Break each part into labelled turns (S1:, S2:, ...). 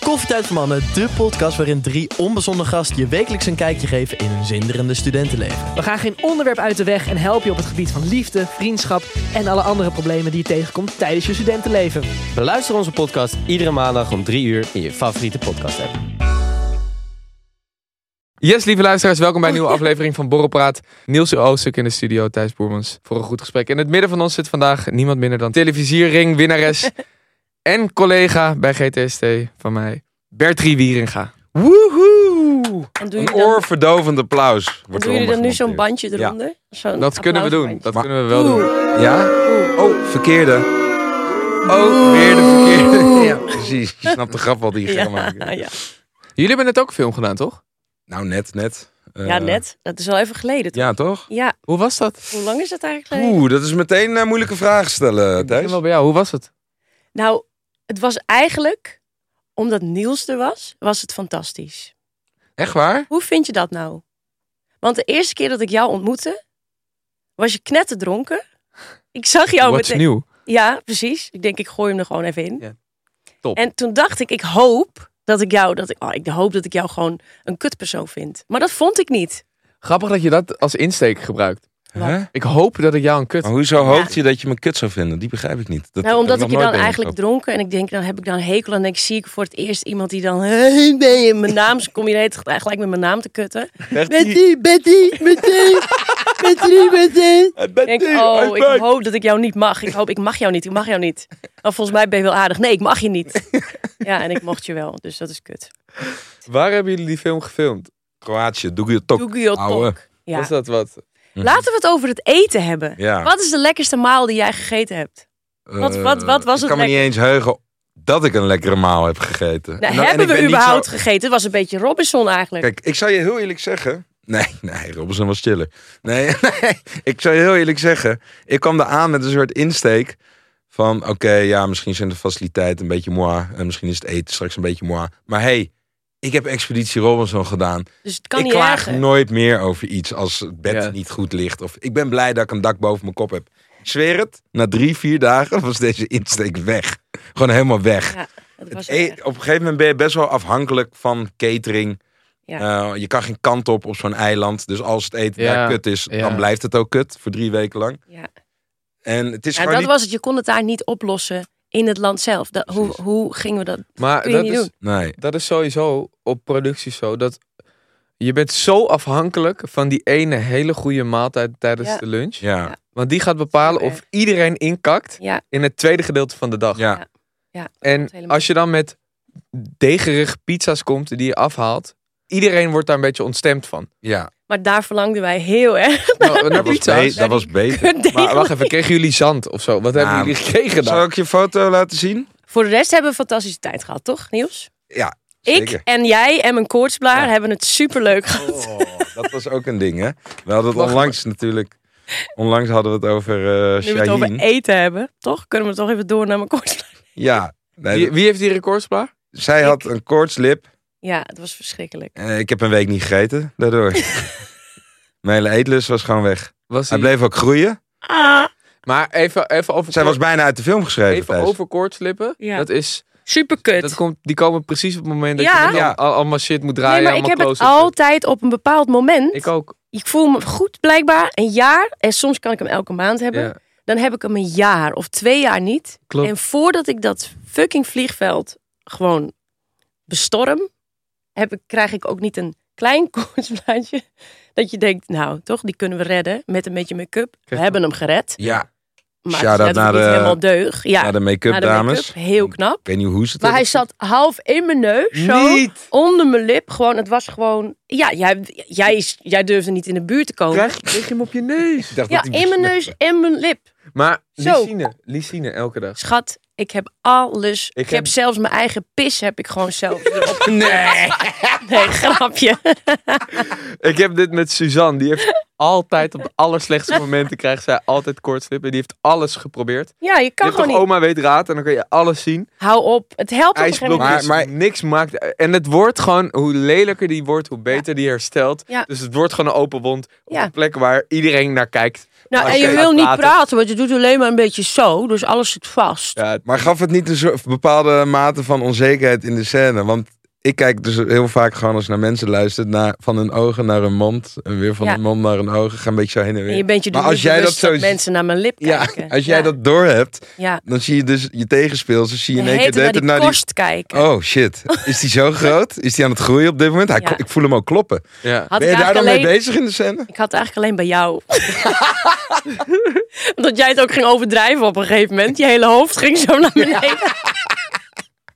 S1: Koffietijd voor Mannen, de podcast waarin drie onbezonnen gasten je wekelijks een kijkje geven in hun zinderende studentenleven.
S2: We gaan geen onderwerp uit de weg en helpen je op het gebied van liefde, vriendschap en alle andere problemen die je tegenkomt tijdens je studentenleven.
S3: Beluister onze podcast iedere maandag om 3 uur in je favoriete podcast app.
S4: Yes, lieve luisteraars, welkom bij een nieuwe aflevering van Borrelpraat. Niels Oostuk in de studio, Thijs Boermans, voor een goed gesprek. In het midden van ons zit vandaag niemand minder dan televisiering, winnares en collega bij GTST van mij, Bertrie Wieringa.
S2: Woehoe!
S5: En doen
S6: Een
S5: jullie dan,
S6: oorverdovend applaus.
S5: en
S6: Wordt
S5: doen jullie dan nu zo'n
S6: eronder
S5: bandje eronder? Zo'n
S4: Dat kunnen we doen,
S5: applausbandje.
S4: dat kunnen
S6: Maar-
S4: we wel doen.
S6: gemonteerd. Ja? Oh, verkeerde. Oh, weer de verkeerde. Ja, precies. Je snapt de grap wat die ging
S5: Ja,
S6: maken.
S5: ja.
S4: Jullie hebben net ook een film gedaan, toch?
S6: Nou, net, net.
S4: Dus,
S6: Eh,
S5: ja, net. Dat is al even geleden. toch?
S6: Ja, toch?
S5: Ja,
S4: Hoe was dat?
S5: hoe lang is dat eigenlijk geleden?
S6: Oeh, dat is meteen eh, moeilijke vragen stellen,
S4: Ik begin
S6: Thijs.
S4: wel bij jou, hoe was het?
S5: Nou, het was eigenlijk, omdat Niels er was, was het fantastisch.
S6: Echt waar?
S5: Hoe vind je dat nou? Want de eerste keer dat ik jou ontmoette, was je knetterdronken. Ik zag jou
S4: What's
S5: meteen.
S4: nieuw?
S5: Ja, precies. Ik denk, ik gooi hem er gewoon even in.
S4: Ja. Top.
S5: En toen dacht ik, ik hoop dat ik jou, dat ik, oh, ik hoop dat ik jou gewoon een kutpersoon vind. Maar dat vond ik niet.
S4: Grappig dat je dat als insteek gebruikt.
S5: Wat?
S6: Hè?
S4: Ik hoop dat ik jou een kut...
S6: Maar hoezo hoopt je dat je me kut zou vinden? Die begrijp ik niet. Dat
S5: Nou,
S6: heb
S5: omdat
S6: nog
S5: ik je
S6: nooit
S5: dan
S6: bij
S5: eigenlijk
S6: gehad.
S5: dronken en ik denk, dan heb ik dan een hekel en denk, zie ik voor het eerst iemand die dan, hey, ben je mijn naam? Ze kom je de hele tijd gelijk met mijn naam te kutten. Betty, Betty, Betty, Betty,
S6: Eh,
S5: Betty. Ik denk, oh, ik hoop dat ik jou niet mag. Ik hoop, ik mag jou niet, ik mag jou niet. Maar volgens mij ben je wel aardig. Nee, ik mag je niet. Ja, en ik mocht je wel, dus dat is kut.
S4: Waar hebben jullie die film gefilmd?
S6: Kroatië, Oh, doe je toch.
S5: Doegio
S6: ouwe.
S5: Tok. Ja.
S4: Was dat wat?
S5: Laten we het over het eten hebben.
S6: Mhm. Ja.
S5: Wat is de lekkerste maal die jij gegeten hebt? Wat- wat- wat was
S6: Eh, ik
S5: het
S6: kan me niet eens heugen dat ik een lekkere maal heb gegeten. En
S5: Nou,
S6: dan- en
S5: hebben
S6: ik ben
S5: we
S6: niet
S5: überhaupt
S6: zo-
S5: gegeten? Het was een beetje Robinson eigenlijk.
S6: Kijk, ik zou je heel eerlijk zeggen. Nee, nee, Robinson was chiller. Nee, nee, ik zou je heel eerlijk zeggen. Ik kwam er aan met een soort insteek. Van oké, ja, misschien zijn de faciliteiten een beetje mooi. En misschien is het eten straks een beetje mooi. Maar hey, ik heb Expeditie Robinson gedaan.
S5: dus het kan
S6: ik
S5: niet
S6: klaag
S5: erger.
S6: nooit meer over iets als het bed
S4: Ja.
S6: niet goed ligt. Of ik ben blij dat ik een dak boven mijn kop heb. Ik zweer het, na drie, vier dagen was deze insteek weg. Gewoon helemaal weg.
S5: Ja, dat was
S6: Het e-
S5: wel erg.
S6: op een gegeven moment ben je best wel afhankelijk van catering.
S5: Ja.
S6: Eh, je kan geen kant op op zo'n eiland. Dus als het eten
S4: Ja,
S6: daar kut is,
S4: ja.
S6: dan blijft het ook kut voor drie weken lang.
S5: Ja.
S6: En het is
S5: Ja,
S6: gewoon
S5: dat
S6: niet...
S5: was het. Je kon het daar niet oplossen in het land zelf. Dat, hoe,
S6: Precies.
S5: hoe gingen we dat?
S4: Maar
S5: Kun je
S4: dat
S5: niet
S4: is,
S5: doen.
S6: Nee,
S4: dat is sowieso op producties zo dat je bent zo afhankelijk van die ene hele goede maaltijd tijdens
S5: Ja.
S4: de lunch.
S6: ja.
S4: Want die gaat bepalen of iedereen inkakt
S5: Ja.
S4: in het tweede gedeelte van de dag.
S6: Ja.
S5: Ja, dat klopt
S4: En
S5: helemaal.
S4: als je dan met degerige pizza's komt die je afhaalt, iedereen wordt daar een beetje ontstemd van.
S6: ja.
S5: Maar daar verlangden wij heel erg.
S4: Nou, naar
S6: Dat, was be-
S4: pizza's.
S6: dat was beter.
S4: Maar wacht even, kregen jullie zand of zo? Wat hebben
S6: Nou,
S4: jullie gekregen
S6: Zal
S4: dan?
S6: ik je foto laten zien?
S5: Voor de rest hebben we een fantastische tijd gehad, toch, Niels?
S6: Ja,
S5: Ik
S6: zeker.
S5: en jij en mijn koortsblaar hebben het superleuk gehad.
S6: Oh, dat was ook een ding, hè? We hadden het
S4: Wacht,
S6: onlangs natuurlijk... Onlangs hadden we het over eh
S5: Nu we het over
S6: Shaheen.
S5: eten hebben, toch? Kunnen we toch even door naar mijn koortsblaar?
S6: Ja, nee,
S4: Wie, wie heeft die recordsplaar?
S6: zij had een koortslip.
S5: Ja, het was verschrikkelijk.
S6: Eh, ik heb een week niet gegeten, daardoor. Mijn hele eetlust was gewoon weg.
S4: Was
S6: Hij
S4: die...
S6: bleef ook groeien.
S5: Ah,
S4: Maar even, even over
S6: Zij was bijna uit de film geschreven.
S4: Even
S6: Thijs.
S4: over koortslippen.
S5: Ja.
S4: Dat is,
S5: superkut.
S4: dat komt, die komen precies op het moment dat
S5: Ja.
S4: je met
S6: Ja.
S4: al- allemaal shit moet draaien.
S5: Nee, maar ik
S4: allemaal
S5: heb het
S4: close-ups.
S5: altijd op een bepaald moment.
S4: Ik ook.
S5: Ik voel me goed blijkbaar een jaar. En soms kan ik hem elke maand hebben.
S4: Ja,
S5: Dan heb ik hem een jaar of twee jaar niet.
S4: klopt.
S5: En voordat ik dat fucking vliegveld gewoon bestorm, heb ik, krijg ik ook niet een klein koortsblaadje. Dat je denkt, nou toch, die kunnen we redden met een beetje make-up. We
S4: Kijk,
S5: hebben hem gered.
S6: Ja,
S5: Maar
S6: Shout-out
S5: het is
S6: naar
S5: niet
S6: de-
S5: helemaal deug. Ja,
S6: naar de make-up
S5: naar de
S6: dames.
S5: make-up. Heel knap.
S6: Ik weet niet hoe ze het
S5: Maar hij
S6: hebben
S5: zat half in mijn neus. Zo
S4: Niet!
S5: onder mijn lip. Gewoon, het was gewoon. Ja, jij, jij, is- jij durfde niet in de buurt te komen.
S4: Krijg, kreeg je hem op je neus.
S6: Ik dacht
S5: ja,
S6: dat die
S5: in mijn neus en mijn lip.
S4: Maar
S5: Zo.
S4: lysine, lysine elke dag.
S5: Schat, ik heb alles. Ik, heb
S4: heb-
S5: zelfs mijn eigen pis heb ik gewoon zelf erop.
S6: Nee.
S5: Nee, grapje.
S4: Ik heb dit met Suzanne. Die heeft altijd op de allerslechtste momenten krijgt zij altijd koortslip. En die heeft alles geprobeerd.
S5: Ja, je kan
S4: je hebt
S5: gewoon
S4: toch
S5: niet.
S4: oma weet raad en dan kun je alles zien.
S5: Hou op. Het helpt op een gegeven moment.
S4: ijsblokjes,
S6: Maar-
S4: maar,
S6: maar-
S4: niks maakt. En het wordt gewoon, hoe lelijker die wordt, hoe beter die herstelt.
S5: Ja.
S4: Dus het wordt gewoon een open wond op
S5: Ja.
S4: een plek waar iedereen naar kijkt.
S5: Nou,
S4: als
S5: en
S4: je
S5: je wil
S4: gaat
S5: niet
S4: praten.
S5: praten, want je doet alleen maar een beetje zo. Dus alles zit vast.
S4: Ja,
S6: Maar gaf het niet een soort bepaalde mate van onzekerheid in de scène? Want ik kijk dus heel vaak gewoon als ik naar mensen luistert, naar, van hun ogen naar hun mond. En weer van
S5: Ja.
S6: hun mond naar hun ogen. Ga een beetje zo heen en weer.
S5: En je bent je
S6: Maar
S5: dus
S6: als jij
S5: bewust
S6: dat zo ziet-
S5: mensen naar mijn lip
S6: ja,
S5: kijken.
S6: als jij
S5: Ja,
S6: dat doorhebt,
S5: Ja.
S6: dan zie je dus je tegenspeelster, zie je
S5: Je
S6: in één keer
S5: heet
S6: de hele tijd
S5: naar die
S6: naar die...
S5: korst kijken.
S6: Oh shit, is die zo groot? Is die aan het groeien op dit moment? Hij,
S5: Ja.
S6: ko- Ik voel hem ook kloppen.
S4: ja.
S5: Had
S6: ben je
S5: ik
S6: daar dan
S5: eigenlijk alleen...
S6: mee bezig in de scène?
S5: Ik had het eigenlijk alleen bij jou. Omdat jij het ook ging overdrijven op een gegeven moment. Je hele hoofd ging zo naar beneden.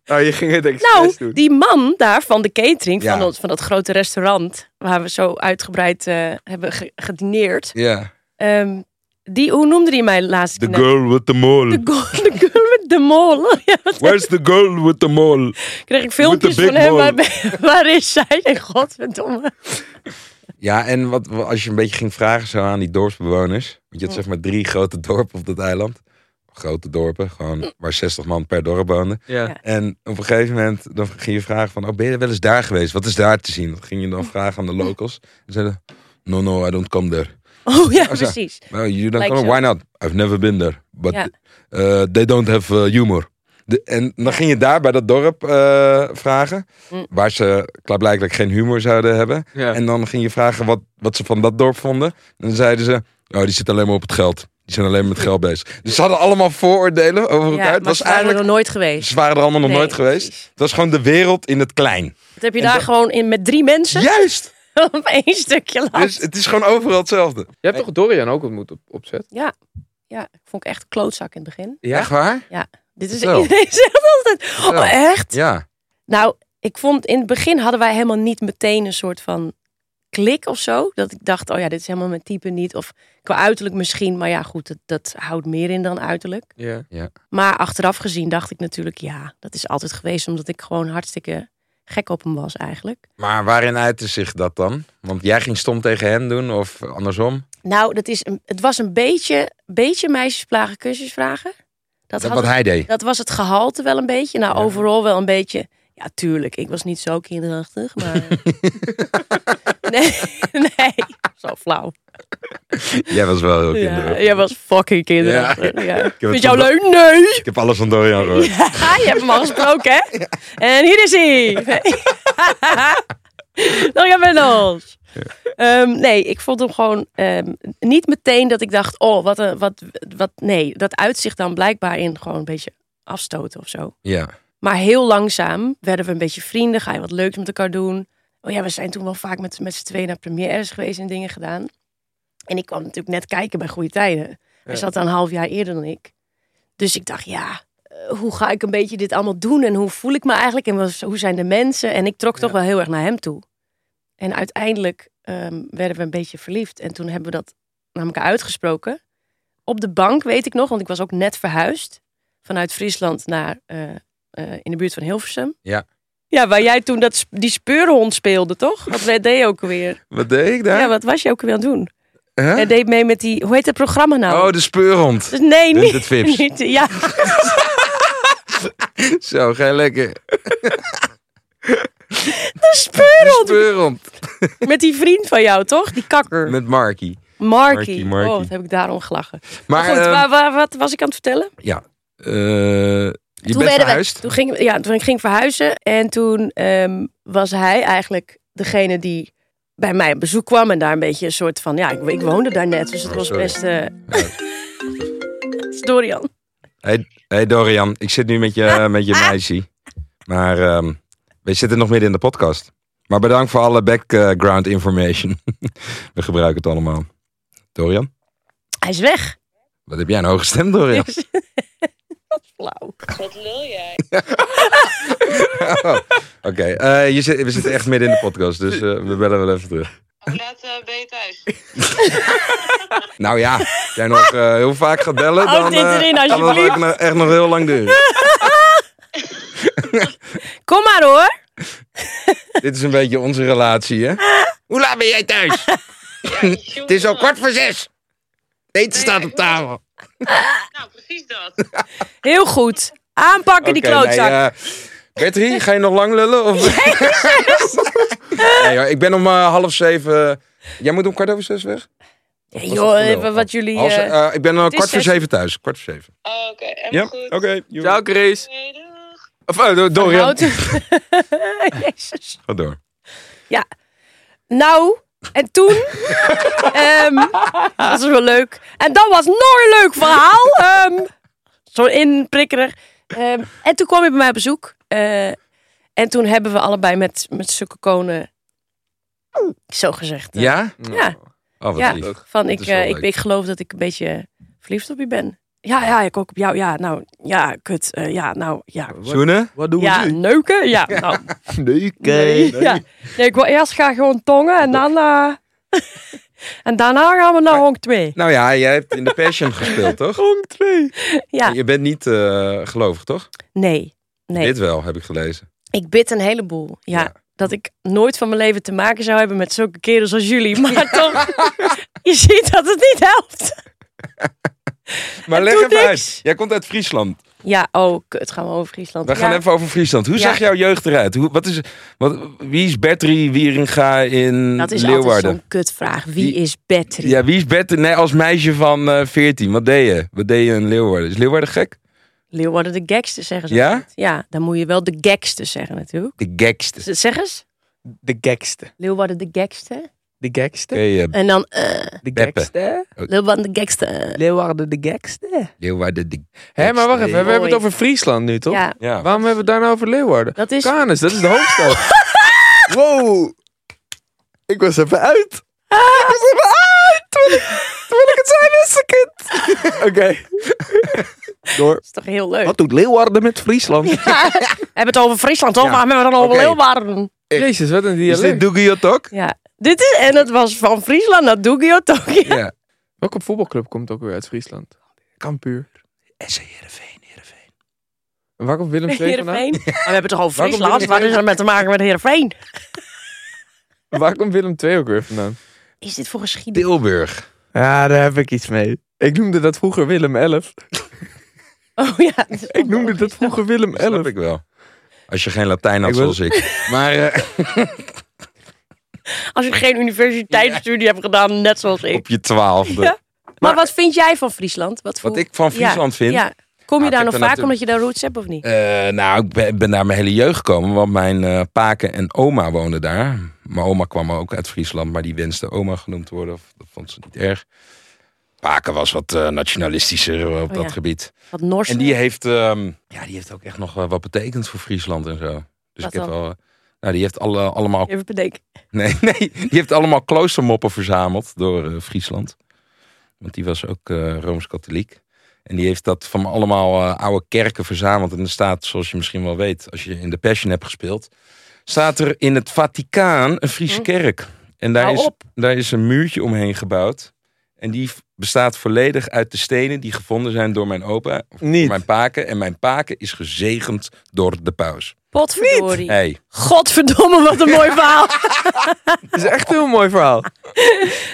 S4: Nou, je ging het expres
S5: Nou,
S4: doen.
S5: die man daar van de catering van,
S6: Ja.
S5: ons, van dat grote restaurant... waar we zo uitgebreid eh, hebben ge- gedineerd...
S6: Ja.
S5: ehm, die, hoe noemde hij mij laatst?
S6: The girl with the mole.
S5: De girl, the girl with the mole. Oh, Ja,
S6: Where's the girl with the mole?
S5: kreeg ik filmpjes
S6: With the
S5: van
S6: big
S5: hem. Waar,
S6: mole.
S5: waar is zij? En godverdomme.
S6: Ja, en wat, wa- als je een beetje ging vragen zo aan die dorpsbewoners. Want je had zeg maar drie grote dorpen op dat eiland. Grote dorpen, gewoon waar 60 man per dorp woonde.
S4: Ja.
S5: Ja.
S6: En op een gegeven moment dan ging je vragen van, oh, ben je wel eens daar geweest? Wat is daar te zien? Dat ging je dan vragen aan de locals. En zeiden, no, no, I don't come there.
S5: Oh ja,
S6: Oh, zo.
S5: precies.
S6: Well, you don't
S5: Like
S6: come,
S5: zo.
S6: why not? I've never been there. But
S5: Ja.
S6: uh, they don't have uh, humor. De- en dan ging je daar bij dat dorp eh, vragen.
S5: Mm.
S6: Waar ze klaarblijkelijk geen humor zouden hebben.
S4: Ja.
S6: En dan ging je vragen wat, wat ze van dat dorp vonden. En dan zeiden ze, oh, die zit alleen maar op het geld. Die zijn alleen maar met geld bezig. Dus ze hadden allemaal vooroordelen over
S5: Ja,
S6: elkaar.
S5: maar
S6: het was
S5: ze waren
S6: eigenlijk,
S5: er nog nooit geweest.
S6: ze waren er allemaal nog
S5: Nee,
S6: nooit geweest.
S5: precies.
S6: Het was gewoon de wereld in het klein.
S5: Dat heb je
S6: En
S5: daar
S6: dat-
S5: gewoon in, met drie mensen
S6: Juist!
S5: op één stukje land.
S6: Dus het is gewoon overal hetzelfde.
S4: Je hebt toch Dorian ook ontmoet op, op set?
S5: Ja, ik vond ik echt klootzak in het begin.
S4: Ja?
S6: Echt waar?
S5: Dit is
S6: Vertel.
S5: iedereen zegt altijd.
S6: Vertel.
S5: Oh, echt?
S6: Ja.
S5: Nou, ik vond in het begin hadden wij helemaal niet meteen een soort van klik of zo. Dat ik dacht, oh ja, dit is helemaal mijn type niet. Of qua uiterlijk misschien, maar ja, goed, dat, dat houdt meer in dan uiterlijk.
S4: Ja.
S5: Maar achteraf gezien dacht ik natuurlijk, ja, dat is altijd geweest. Omdat ik gewoon hartstikke gek op hem was eigenlijk.
S6: Maar waarin uitte zich dat dan? Want jij ging stom tegen hem doen of andersom?
S5: Nou, dat is een, het was een beetje, beetje meisjesplagen, kusjesvragen. Dat,
S6: Dat
S5: had
S6: wat
S5: het-
S6: hij deed.
S5: dat was het gehalte wel een beetje. Nou, overal wel een beetje. Ja, tuurlijk. Ik was niet zo kinderachtig, maar. nee, nee. Zo flauw.
S6: Jij was wel heel
S5: Ja,
S6: kinderachtig.
S5: jij was fucking kinderachtig. Ja.
S6: het
S5: Vind jou
S6: vandaag-
S5: leuk? Nee.
S6: Ik heb alles van Dorian gehoord.
S5: Ja, je hebt hem al gesproken, hè? En hier is hij. Nog een Bendels. Ehm, nee, ik vond hem gewoon ehm, niet meteen dat ik dacht, oh, wat een, wat, wat, nee, dat uitzicht dan blijkbaar in gewoon een beetje afstoten of zo.
S6: Ja.
S5: Maar heel langzaam werden we een beetje vrienden. Ga je wat leuks met elkaar doen? Oh ja, we zijn toen wel vaak met, met z'n tweeën naar premières geweest en dingen gedaan. En ik kwam natuurlijk net kijken bij Goede Tijden. Hij
S4: Ja.
S5: zat daar een half jaar eerder dan ik. Dus ik dacht, ja, eh, hoe ga ik een beetje dit allemaal doen? En hoe voel ik me eigenlijk? En wat- hoe zijn de mensen? En ik trok toch wel heel erg naar hem toe. En uiteindelijk ehm, werden we een beetje verliefd. En toen hebben we dat naar elkaar uitgesproken. Op de bank, weet ik nog, want ik was ook net verhuisd. Vanuit Friesland naar eh, eh, in de buurt van Hilversum.
S6: Ja.
S5: Ja, waar jij toen dat, sp- die speurhond speelde, toch? Wat deed je ook alweer?
S6: Wat deed ik
S5: Ja,
S6: daar?
S5: wat was je ook alweer aan het doen?
S6: Huh?
S5: Jij deed mee met die... Hoe heet dat programma nou?
S6: Oh, de speurhond.
S5: Dus nee,
S6: Dit is
S5: niet,
S6: het Vips.
S5: niet- Ja,
S6: Zo, ga je lekker.
S5: de
S6: De
S5: speurhond.
S6: speurhond.
S5: Met die vriend van jou, toch? Die kakker.
S6: Met Marky.
S5: Marky.
S6: Marky, Marky.
S5: Oh, wat heb ik daarom gelachen. Maar,
S6: Maar
S5: goed,
S6: ehm,
S5: waar, waar- wat was ik aan het vertellen?
S6: eh, je bent
S5: werden we-
S6: verhuisd.
S5: Toen ging, ja, toen ik ging verhuizen. En toen ehm, was hij eigenlijk degene die bij mij op bezoek kwam. En daar een beetje een soort van... Ja, ik, ik woonde daar net, dus het
S6: Oh,
S5: was
S6: sorry.
S5: best... eh Dorian.
S6: Hey Dorian, ik zit nu met je,
S5: Ah,
S6: met je meisje. Maar ehm, we zitten nog midden in de podcast. Maar bedankt voor alle background information. we gebruiken het allemaal. Dorian,
S5: Hij is weg.
S6: wat heb jij een hoge stem, Dorian?
S5: Dus- Wat flauw.
S6: Oh, Oké, Eh, je zit, we zitten echt midden in de podcast, dus eh, we bellen wel even terug.
S7: Hoe laat eh, ben je thuis?
S6: Nou ja, als jij nog eh, heel vaak gaat bellen,
S5: Houd
S6: dan
S5: dit
S6: eh,
S5: erin,
S6: kan dat
S5: alsjeblieft.
S6: ook nog- echt nog heel lang duren.
S5: Kom maar hoor.
S6: Dit is een beetje onze relatie, hè? Hoe laat ben jij thuis? Het is al kwart voor zes. Eten staat op tafel.
S7: Nou, precies dat.
S5: Heel goed. Aanpakken die
S6: Oké,
S5: klootzak.
S6: nee, eh, Bertrie, ga je nog lang lullen? Of? nee, hoor, ik ben om eh, half zeven. jij moet om kwart over zes weg?
S5: Ja,
S6: was
S5: joh,
S6: dat gelul?
S5: even wat jullie...
S6: Half ze-
S5: eh,
S6: eh, ik ben eh,
S5: is
S6: kwart voor
S5: zes.
S6: zeven thuis. Kwart voor zeven.
S7: Oké, helemaal
S6: Ja,
S7: goed.
S6: oké. joe.
S4: Ciao, Chris.
S7: Oké, doeg.
S4: Of eh, Do-
S6: oh,
S4: Dorian.
S5: houten. Jezus.
S6: Ga door.
S5: Nou, en toen... ehm, dat is wel leuk. En dat was nog een leuk verhaal. ehm, zo inprikkerig. Ehm, en toen kwam je bij mij op bezoek. eh, en toen hebben we allebei met, met sukkelkonen... Zo gezegd. eh,
S6: Ja?
S5: Ja.
S6: Oh, wat
S5: Ja.
S6: lief.
S5: Van
S6: Dat
S5: ik,
S6: is wel
S5: eh, ik,
S6: leuk.
S5: ik geloof dat ik een beetje verliefd op je ben. Ja, ja, ik ook op jou. Ja, nou, ja, kut. eh, ja, nou, ja.
S6: Zoenen?
S1: Wat doen
S5: Ja, neuken? Ja, nou.
S1: Nee,
S5: Nee, ja. nee ik wil eerst graag gewoon tongen en dan... eh, en daarna gaan we naar honk 2.
S6: Nou ja, jij hebt in de Passion gespeeld, toch?
S5: Ja,
S6: Je bent niet eh, gelovig, toch?
S5: nee. Nee,
S6: Dit wel, heb ik gelezen.
S5: ik bid een heleboel. Ja,
S6: Ja.
S5: dat ik nooit van mijn leven te maken zou hebben met zulke kerels als jullie. Maar toch, je ziet dat het niet helpt.
S6: Maar
S5: Het
S6: leg
S5: doet
S6: even uit.
S5: niks.
S6: Jij komt uit Friesland.
S5: Ja, oh, kut, gaan we over Friesland.
S6: We gaan
S5: Ja.
S6: even over Friesland. Hoe
S5: Ja.
S6: zag jouw jeugd eruit? Hoe, wat is, wat, wie is Bertrie Wieringa in
S5: Dat is altijd
S6: Leeuwarden?
S5: zo'n kutvraag. Wie
S6: Die-
S5: is Betty?
S6: Ja, wie is Bertrie? Nee, als meisje van eh 14. Wat deed je? Wat deed je in Leeuwarden? Is Leeuwarden gek?
S5: Leeuwarden de gekste zeggen ze.
S6: Ja?
S5: altijd. Ja, dan moet je wel de gekste zeggen natuurlijk.
S6: De gekste.
S5: Z- Zeg eens.
S4: De gekste.
S5: Leeuwarden de gekste.
S4: De gekste.
S6: Oké, eh,
S5: En dan eh
S4: De
S6: Beppe.
S4: gekste.
S5: Leeuwarden de gekste.
S4: Leeuwarden de gekste.
S6: Leeuwarden de
S4: Hé, maar wacht even. We hebben het
S5: Mooi.
S4: over Friesland nu, toch?
S5: Ja,
S6: Ja.
S4: Waarom hebben we het daarna over Leeuwarden?
S5: dat is...
S4: Canis, dat is de hoofdstad.
S1: Wow. Ik was even uit.
S5: Ah!
S4: Oké.
S5: is toch heel leuk.
S4: doet Leeuwarden met Friesland?
S5: We hebben het over Friesland, toch?
S6: Ja.
S5: Maar hebben we dan over
S6: Oké.
S5: Leeuwarden?
S4: Jezus, wat een
S6: Is dit
S4: dialect.
S6: Doegiot ook?
S5: Ja. Dit is, en het was van Friesland naar Doegio, toch? Ja.
S6: Ja.
S4: Welke voetbalclub komt ook weer uit Friesland? Kampuur.
S6: SC Heerenveen, Heerenveen.
S4: En waar komt Willem II vandaan?
S5: Heerenveen. Maar we hebben het toch over
S4: Waar komt
S5: Friesland? Wat
S4: Heerenveen?
S5: is er met te maken met Heerenveen?
S4: Waar komt Willem II ook weer vandaan?
S5: Is dit voor geschiedenis?
S6: Tilburg.
S4: Ja, daar heb ik iets mee. Ik noemde dat vroeger Willem 11.
S5: Oh ja. dat is
S4: Ik noemde dat vroeger Willem
S6: Dat
S4: 11.
S6: snap ik wel. Als je geen Latijn had
S4: Ik was-
S6: zoals ik. Maar eh,
S5: Als je geen universiteitsstudie hebt gedaan, net zoals ik.
S6: op je twaalfde.
S5: Ja. Maar, wat vind jij van Friesland? Wat,
S6: Wat
S5: voel-
S6: ik van Friesland
S5: Ja,
S6: vind?
S5: Ja. Kom je
S6: Nou, ik
S5: daar
S6: heb
S5: nog
S6: er
S5: vaak
S6: natuurlijk-
S5: omdat je daar roots hebt of niet?
S6: Eh, nou, ik ben, ben daar mijn hele jeugd gekomen, want mijn eh, paken en oma woonden daar. Mijn oma kwam ook uit Friesland, maar die wenste oma genoemd te worden. Of, dat vond ze niet erg. Paken was wat eh, nationalistischer op
S5: Oh,
S6: dat
S5: ja.
S6: gebied.
S5: Wat Nors.
S6: En die heeft, ehm, ja, die heeft ook echt nog eh, wat betekend voor Friesland en zo. Dus
S5: Wat
S6: ik heb
S5: dan?
S6: wel. eh, nou, die heeft alle, allemaal.
S5: Even bedenken.
S6: Nee, nee, die heeft allemaal kloostermoppen verzameld door eh, Friesland. Want die was ook eh, rooms-katholiek. En die heeft dat van allemaal eh, oude kerken verzameld. En er staat, zoals je misschien wel weet, als je in de Passion hebt gespeeld, staat er in het Vaticaan een Friese
S5: Hm.
S6: kerk. En daar
S5: Hou
S6: is,
S5: op.
S6: daar is een muurtje omheen gebouwd. En die v- bestaat volledig uit de stenen die gevonden zijn door mijn opa,
S4: Niet.
S6: mijn paken. En mijn paken is gezegend door de paus.
S5: Potverdorie.
S6: Hey.
S5: Godverdomme, wat een mooi verhaal.
S4: Dat is echt een heel mooi verhaal.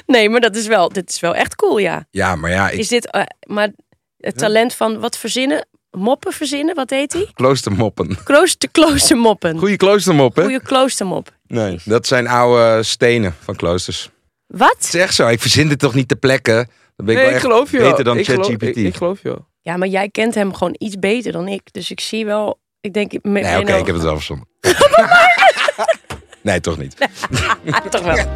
S5: Nee, maar dat is wel, dit is wel echt cool, ja.
S6: Ja, maar ja, ik,
S5: Is dit, eh, maar het talent van wat verzinnen? Moppen verzinnen, wat heet die?
S6: kloostermoppen.
S5: Klooster, kloostermoppen.
S6: Goeie kloostermoppen.
S5: Goeie kloostermop.
S6: Nee. Dat zijn oude stenen van kloosters. Het
S5: Wat?
S6: is echt zo. Ik verzin dit toch niet te plekken? Dan ben ik
S4: Nee,
S6: wel
S4: ik
S6: echt
S4: geloof je wel.
S6: beter dan
S4: Ik geloof- ik-
S6: ChatGPT.
S4: Ik geloof je wel.
S5: Ja, maar jij kent hem gewoon iets beter dan ik. Dus ik zie wel, ik denk... ik-
S6: Nee, oké,
S5: nou-
S6: ik heb het wel verzonnen. nee, toch niet.
S5: Ah, toch wel.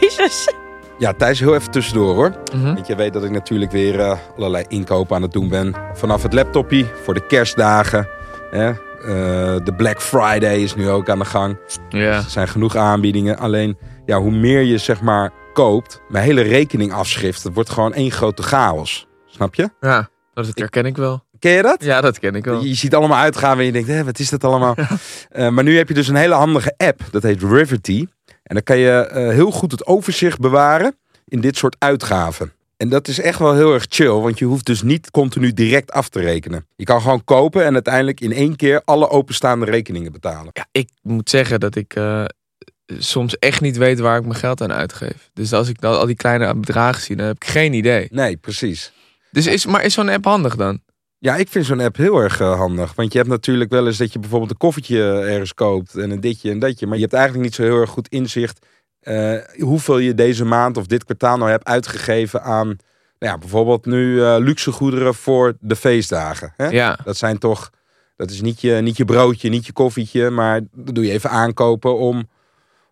S5: Jezus.
S6: Ja, Thijs, heel even tussendoor hoor.
S4: Mhm.
S6: Want je weet dat ik natuurlijk weer eh, allerlei inkopen aan het doen ben. Vanaf het laptopje voor de kerstdagen. Hè? Eh, de Black Friday is nu ook aan de gang.
S4: Ja.
S6: Er zijn genoeg aanbiedingen. Alleen ja, hoe meer je zeg maar koopt, mijn hele rekening afschrift, het wordt gewoon één grote chaos. Snap je?
S4: Ja, dat herken ik wel.
S6: Ken je dat?
S4: Ja, dat ken ik wel.
S6: Je, je ziet allemaal uitgaan en je denkt, hè, wat is dat allemaal? Eh, maar nu heb je dus een hele handige app, dat heet Riverty. En dan kan je eh, heel goed het overzicht bewaren in dit soort uitgaven. En dat is echt wel heel erg chill, want je hoeft dus niet continu direct af te rekenen. Je kan gewoon kopen en uiteindelijk in één keer alle openstaande rekeningen betalen.
S4: Ja, ik moet zeggen dat ik eh, soms echt niet weet waar ik mijn geld aan uitgeef. Dus als ik dan al die kleine bedragen zie, dan heb ik geen idee.
S6: Nee, precies.
S4: Dus is, maar is zo'n app handig dan?
S6: Ja, ik vind zo'n app heel erg eh, handig. Want je hebt natuurlijk wel eens dat je bijvoorbeeld een koffertje ergens koopt en een ditje en datje. Maar je hebt eigenlijk niet zo heel erg goed inzicht eh, hoeveel je deze maand of dit kwartaal nou hebt uitgegeven aan nou ja, bijvoorbeeld nu eh, luxe goederen voor de feestdagen. Hè?
S4: Ja.
S6: Dat zijn toch, dat is niet je, niet je broodje, niet je koffietje, maar dat doe je even aankopen om,